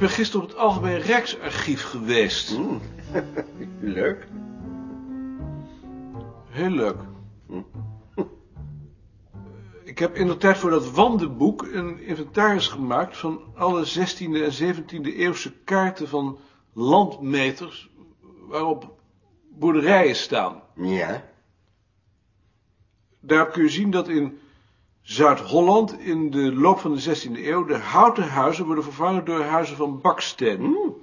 gisteren op het Algemeen Rijksarchief geweest. Hm? Mm. Leuk. Heel leuk. Eh, Hm. Ik heb in de tijd voor dat wandenboek een inventaris gemaakt van alle 16e en 17e eeuwse kaarten van landmeters waarop boerderijen staan. Ja. Daar kun je zien dat in Zuid-Holland in de loop van de 16e eeuw de houten huizen worden vervangen door huizen van baksteen. Hm? Mm.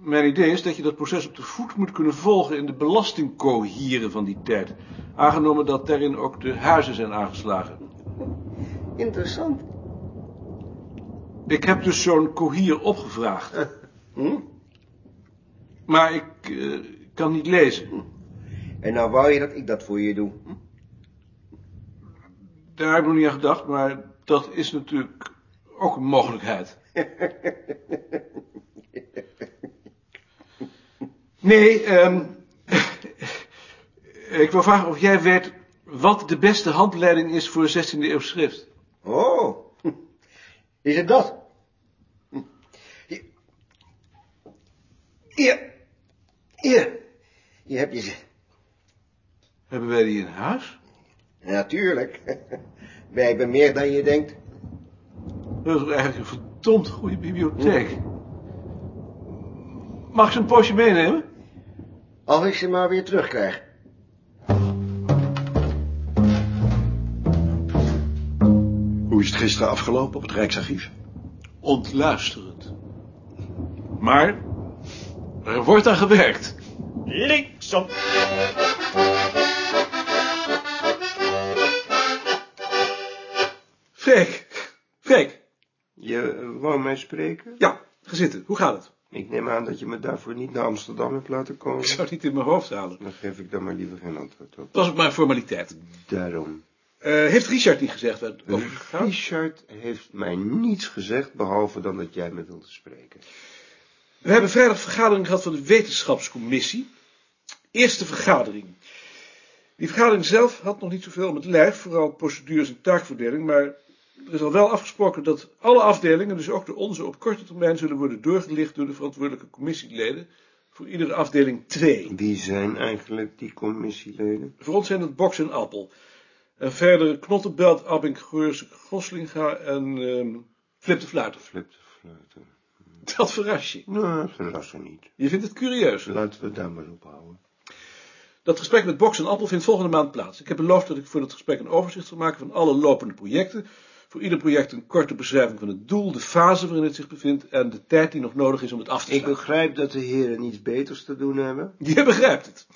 Mijn idee is dat je dat proces op de voet moet kunnen volgen in de belastingcohieren van die tijd. Aangenomen dat daarin ook de huizen zijn aangeslagen. Interessant. Ik heb dus zo'n cohier opgevraagd, Hm? maar ik eh, kan niet lezen. En nou wou je dat ik dat voor je doe. Hm? Daar heb ik nog niet aan gedacht, maar dat is natuurlijk ook een mogelijkheid. Nee, ehm, ik wil vragen of jij weet wat de beste handleiding is voor 16e eeuw schrift. Oh. Is het dat? Hm. Hier. Hier. Hier heb je ze. Hebben wij die in huis? Natuurlijk. Wij hebben meer dan je denkt. Dat is eigenlijk een verdomd goede bibliotheek. Mag ik ze een poosje meenemen? Als ik ze maar weer terugkrijg. Hoe is het gisteren afgelopen op het Rijksarchief? Ontluisterend. Maar er wordt aan gewerkt. Linksom. Freek, Freek, Je eh, wou mij spreken? ja, ga zitten. Hoe gaat het? Ik neem aan dat je me daarvoor niet naar Amsterdam hebt laten komen. Ik zou het niet in mijn hoofd halen. Dan geef ik daar maar liever geen antwoord op. Het was ook maar een formaliteit. Daarom. Eh, heeft Richard niet gezegd waar het over gaat? Richard heeft mij niets gezegd, behalve dan dat jij me wilde spreken. We hebben vrijdag vergadering gehad van de wetenschapscommissie. Eerste vergadering. Die vergadering zelf had nog niet zoveel om het lijf, vooral procedures en taakverdeling, maar er is al wel afgesproken dat alle afdelingen, dus ook de onze, op korte termijn zullen worden doorgelicht door de verantwoordelijke commissieleden, voor iedere afdeling twee. Wie zijn eigenlijk die commissieleden? Voor ons zijn dat Box en Appel. En verder Knottenbelt, Abink, Geurs, Goslinga en ehm Flip de Fluiter. Flip de fluiten. Dat verras je. Nou, verrassen niet. Je vindt het curieus. Laten we daar maar op houden. Dat gesprek met Box en Appel vindt volgende maand plaats. Ik heb beloofd dat ik voor dat gesprek een overzicht zal maken van alle lopende projecten. Voor ieder project een korte beschrijving van het doel, de fase waarin het zich bevindt en de tijd die nog nodig is om het af te Ik sluiten. begrijp dat de heren niets beters te doen hebben. Je begrijpt het.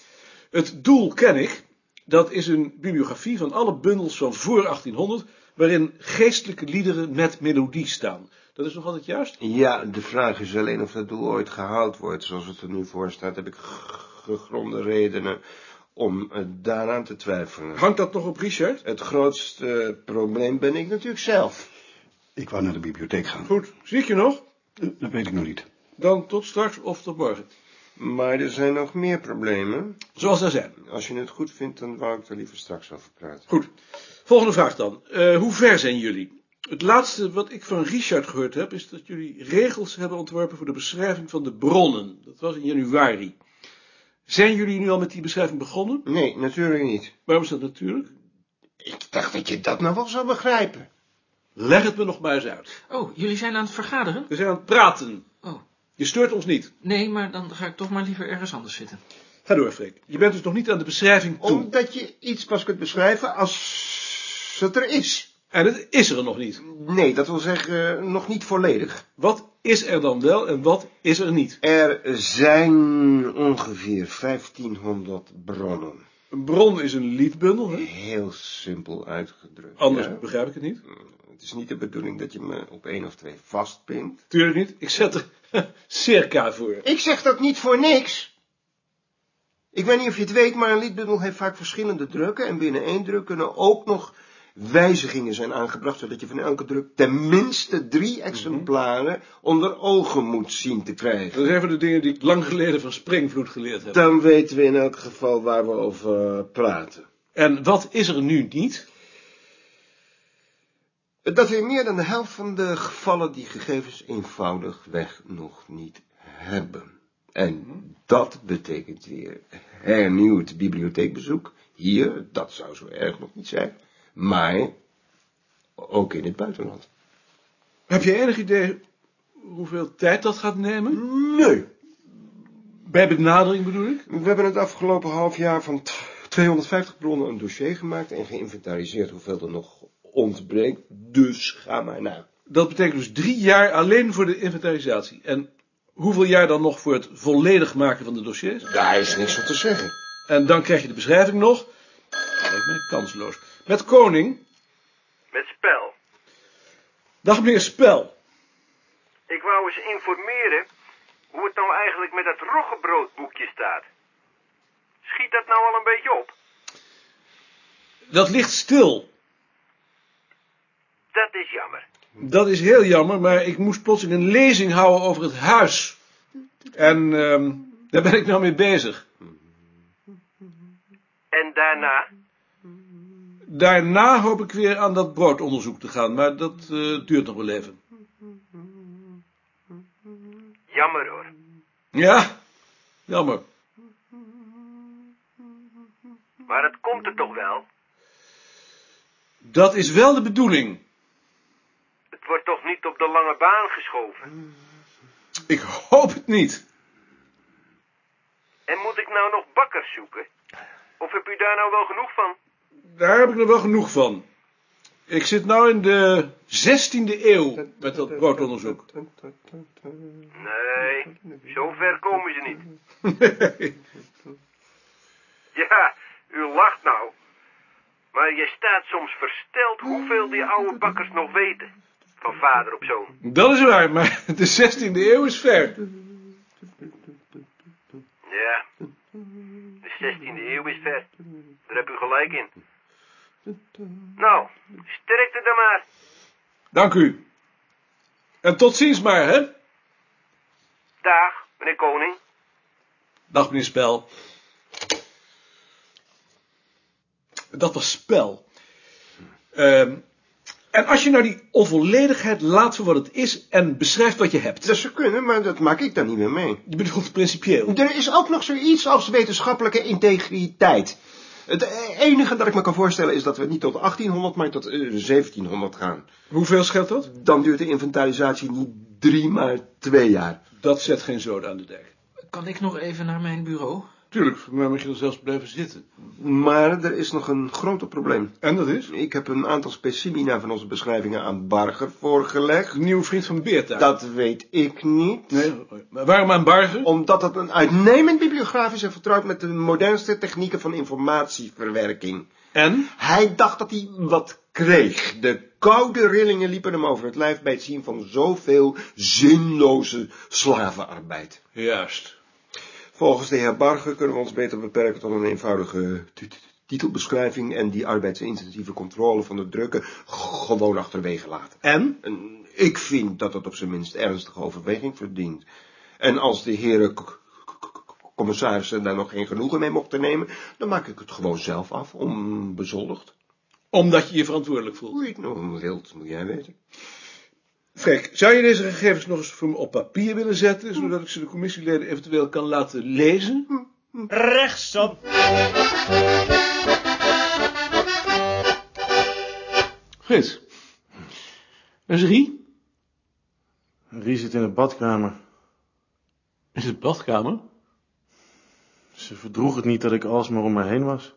Het doel ken ik. Dat is een bibliografie van alle bundels van voor 1800, waarin geestelijke liederen met melodie staan. Dat is nog altijd juist? Ja, de vraag is alleen of dat doel ooit gehaald wordt. Zoals het er nu voor staat, heb ik g- gegronde redenen om eh, daaraan te twijfelen. Hangt dat nog op Richard? Het grootste eh, probleem ben ik natuurlijk zelf. Ik wou naar de bibliotheek gaan. Goed, zie ik je nog? Eh, Dat weet ik nog niet. Dan tot straks of tot morgen. Maar er zijn nog meer problemen. Zoals daar zijn. Als je het goed vindt, dan wou ik er liever straks over praten. Goed. Volgende vraag dan. Eh, hoe ver zijn jullie? Het laatste wat ik van Richard gehoord heb, is dat jullie regels hebben ontworpen voor de beschrijving van de bronnen. Dat was in januari. Zijn jullie nu al met die beschrijving begonnen? Nee, natuurlijk niet. Waarom is dat natuurlijk? Ik dacht dat je dat nou wel zou begrijpen. Leg het me nog maar eens uit. Oh, jullie zijn aan het vergaderen? We zijn aan het praten. Oh. Je steurt ons niet. Nee, maar dan ga ik toch maar liever ergens anders zitten. Ga door, Freek. Je bent dus nog niet aan de beschrijving toe. Omdat je iets pas kunt beschrijven als het er is. En het is er nog niet. Nee, dat wil zeggen, eh, nog niet volledig. Wat is er dan wel en wat is er niet? Er zijn ongeveer 1500 bronnen. Een bron is een liedbundel, hè? Heel simpel uitgedrukt. Anders ja. begrijp ik het niet. Het is niet de bedoeling dat je me op één of twee vastpint. Tuurlijk niet. Ik zet er circa voor. Ik zeg dat niet voor niks. Ik weet niet of je het weet, maar een liedbundel heeft vaak verschillende drukken. En binnen één druk kunnen ook nog wijzigingen zijn aangebracht, zodat je van elke druk tenminste drie exemplaren onder ogen moet zien te krijgen. Dat zijn van de dingen die ik lang geleden van Springvloed geleerd heb. Dan weten we in elk geval waar we over praten. En wat is er nu niet? Dat in meer dan de helft van de gevallen die gegevens eenvoudigweg nog niet hebben. En dat betekent weer hernieuwd bibliotheekbezoek. Hier, dat zou zo erg nog niet zijn. Maar ook in het buitenland. Heb je enig idee hoeveel tijd dat gaat nemen? Nee, Bij benadering bedoel ik? We hebben het afgelopen half jaar van t- 250 bronnen een dossier gemaakt en geïnventariseerd hoeveel er nog ontbreekt. Dus ga maar na. Dat betekent dus drie jaar alleen voor de inventarisatie. En hoeveel jaar dan nog voor het volledig maken van de dossiers? Daar is niks van te zeggen. En dan krijg je de beschrijving nog. Dat lijkt mij kansloos. Met Koning. Met spel. Dag meneer Spel. Ik wou eens informeren hoe het nou eigenlijk met dat roggebroodboekje staat. Schiet dat nou al een beetje op? Dat ligt stil. Dat is jammer. Dat is heel jammer, maar ik moest plotseling een lezing houden over het huis. En ehm, daar ben ik nou mee bezig. En daarna? Daarna hoop ik weer aan dat broodonderzoek te gaan, maar dat eh, duurt nog wel even. Jammer hoor. Ja, jammer. Maar het komt er toch wel? Dat is wel de bedoeling. Het wordt toch niet op de lange baan geschoven? Ik hoop het niet. En moet ik nou nog bakkers zoeken? Of heb u daar nou wel genoeg van? Daar heb ik er wel genoeg van. Ik zit nou in de 16e eeuw met dat broodonderzoek. Nee, zo ver komen ze niet. Ja, u lacht nou. Maar je staat soms versteld hoeveel die oude bakkers nog weten. Van vader op zoon. Dat is waar, maar de 16e eeuw is ver. Ja. De 16e eeuw is ver. Daar heb u gelijk in. Nou, sterkte dan maar. Dank u. En tot ziens maar, hè? Dag, meneer Koning. Dag, meneer Spel. Dat was Spel. Ehm, en als je nou die onvolledigheid laat voor wat het is en beschrijft wat je hebt. Dat zou kunnen, maar dat maak ik dan niet meer mee. Je bedoelt principieel. Er is ook nog zoiets als wetenschappelijke integriteit. Het enige dat ik me kan voorstellen is dat we niet tot 1800, maar tot eh, 1700 gaan. Hoeveel scheelt dat? Dan duurt de inventarisatie niet drie, maar twee jaar. Dat zet geen zoden aan de dijk. Kan ik nog even naar mijn bureau? Tuurlijk, maar mag je er zelfs blijven zitten. Maar er is nog een groter probleem. En dat is? Ik heb een aantal specimina van onze beschrijvingen aan Barger voorgelegd. Een nieuwe vriend van Beerta. Dat weet ik niet. Nee, maar waarom aan Barger? Omdat het een uitnemend bibliograaf is en vertrouwd met de modernste technieken van informatieverwerking. En? Hij dacht dat hij wat kreeg. De koude rillingen liepen hem over het lijf bij het zien van zoveel zinloze slavenarbeid. Juist. Volgens de heer Barger kunnen we ons beter beperken tot een eenvoudige tu- tu- titelbeschrijving en die arbeidsintensieve controle van de drukken g- gewoon achterwege laten. En? En ik vind dat het op zijn minst ernstige overweging verdient. En als de heren k- k- k- commissarissen daar nog geen genoegen mee mochten nemen, dan maak ik het gewoon zelf af, onbezoldigd. Omdat je je verantwoordelijk voelt. Hoe je het nou wilt, moet jij weten. Freek, zou je deze gegevens nog eens voor me op papier willen zetten, zodat ik ze de commissieleden eventueel kan laten lezen? Rechtsop. Frits. Is Rie? Rie zit in de badkamer. Is het badkamer? Ze verdroeg het niet dat ik alsmaar om me heen was.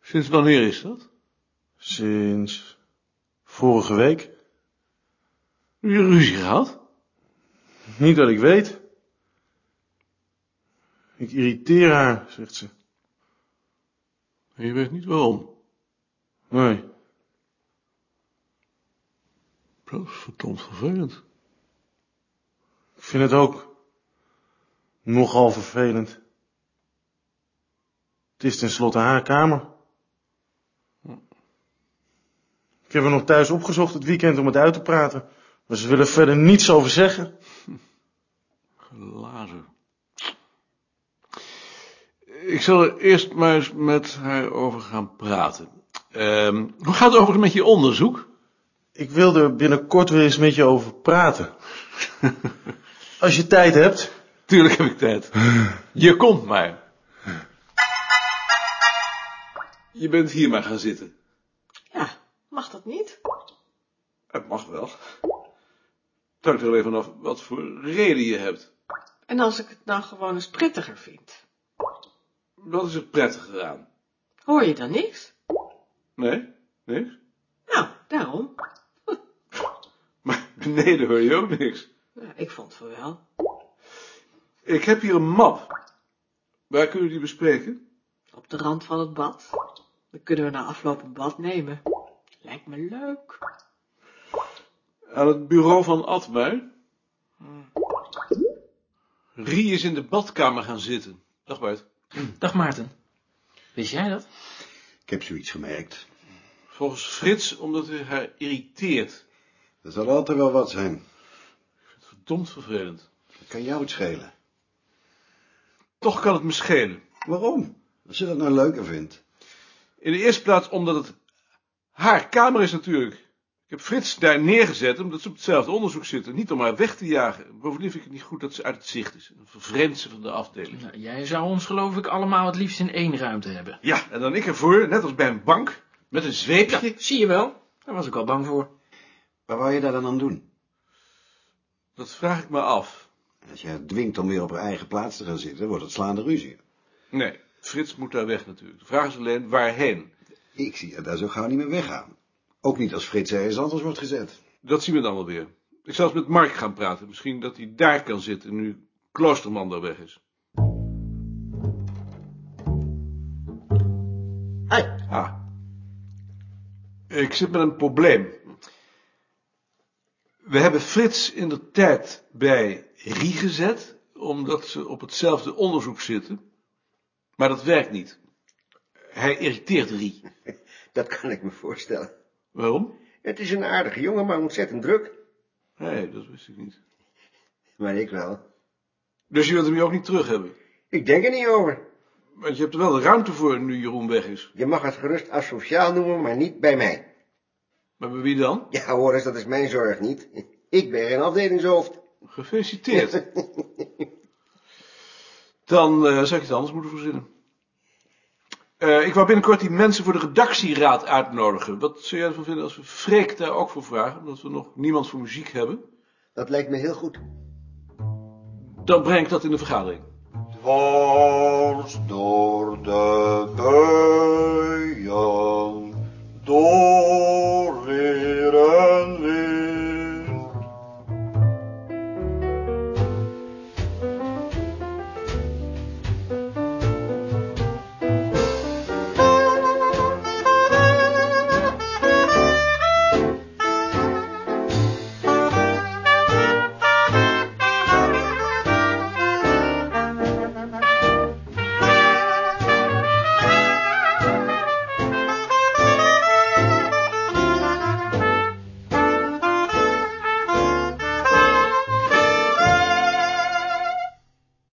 Sinds wanneer is dat? Sinds vorige week. Heb je ruzie gehad? Niet dat ik weet. Ik irriteer haar, zegt ze. En je weet niet waarom. Nee, Dat is verdomd vervelend. ik vind het ook nogal vervelend. Het is tenslotte haar kamer. Ik heb haar nog thuis opgezocht het weekend om het uit te praten. Maar ze wil er verder niets over zeggen. Lazer. Ik zal er eerst maar eens met haar over gaan praten. Ehm, hoe gaat het overigens met je onderzoek? Ik wil er binnenkort weer eens met je over praten. Als je tijd hebt. Tuurlijk heb ik tijd. Je komt maar. Je bent hier maar gaan zitten. Ja, mag dat niet? Het mag wel. Het hangt er alleen vanaf wat voor reden je hebt. En als ik het nou gewoon eens prettiger vind, Wat is er prettiger aan? hoor je dan niks? Nee? Niks? Nou, daarom. Maar beneden hoor je ook niks. Ja, ik vond van wel. Ik heb hier een map. Waar kunnen we die bespreken? Op de rand van het bad. Dan kunnen we na afloop een bad nemen. Lijkt me leuk. Aan het bureau van Atmar. Rie is in de badkamer gaan zitten. Dag Bart. Dag Maarten. Wist jij dat? Ik heb zoiets gemerkt. Volgens Frits omdat hij haar irriteert. Er zal altijd wel wat zijn. Verdomd vervelend. Dat kan jou het schelen. Toch kan het me schelen. Waarom? Als je dat nou leuker vindt. In de eerste plaats omdat het haar kamer is natuurlijk. Ik heb Frits daar neergezet omdat ze op hetzelfde onderzoek zitten. Niet om haar weg te jagen. Bovendien vind ik het niet goed dat ze uit het zicht is. Een vervreemd ze van de afdeling. Nou, jij zou ons geloof ik allemaal het liefst in één ruimte hebben. Ja, en dan ik ervoor, net als bij een bank, met een zweepje. Ja, zie je wel. Daar was ik al bang voor. Waar wou je daar dan aan doen? Dat vraag ik me af. Als je haar dwingt om weer op haar eigen plaats te gaan zitten, wordt het slaande ruzie. Nee, Frits moet daar weg natuurlijk. De vraag is alleen waarheen. Ik zie haar daar zo gauw niet meer weggaan. Ook niet als Frits ergens anders wordt gezet. Dat zien we dan wel weer. Ik zal eens met Mark gaan praten. Misschien dat hij daar kan zitten nu Kloosterman daar weg is. Hoi. Ah. Ik zit met een probleem. We hebben Frits in de tijd bij Rie gezet, omdat ze op hetzelfde onderzoek zitten. Maar dat werkt niet. Hij irriteert Rie. Dat kan ik me voorstellen. Waarom? Het is een aardige jongen, maar ontzettend druk. Nee, dat wist ik niet. Maar ik wel. Dus je wilt hem hier ook niet terug hebben? Ik denk er niet over. Want je hebt er wel de ruimte voor nu Jeroen weg is. Je mag het gerust asociaal noemen, maar niet bij mij. Maar bij wie dan? Ja, hoor eens, dat is mijn zorg niet. Ik ben geen afdelingshoofd. Gefeliciteerd. Dan eh, zou ik het anders moeten verzinnen. Eh, ik wou binnenkort die mensen voor de redactieraad uitnodigen. Wat zou jij ervan vinden als we Freek daar ook voor vragen? Omdat we nog niemand voor muziek hebben. Dat lijkt me heel goed. Dan breng ik dat in de vergadering. Dwars door de buien, door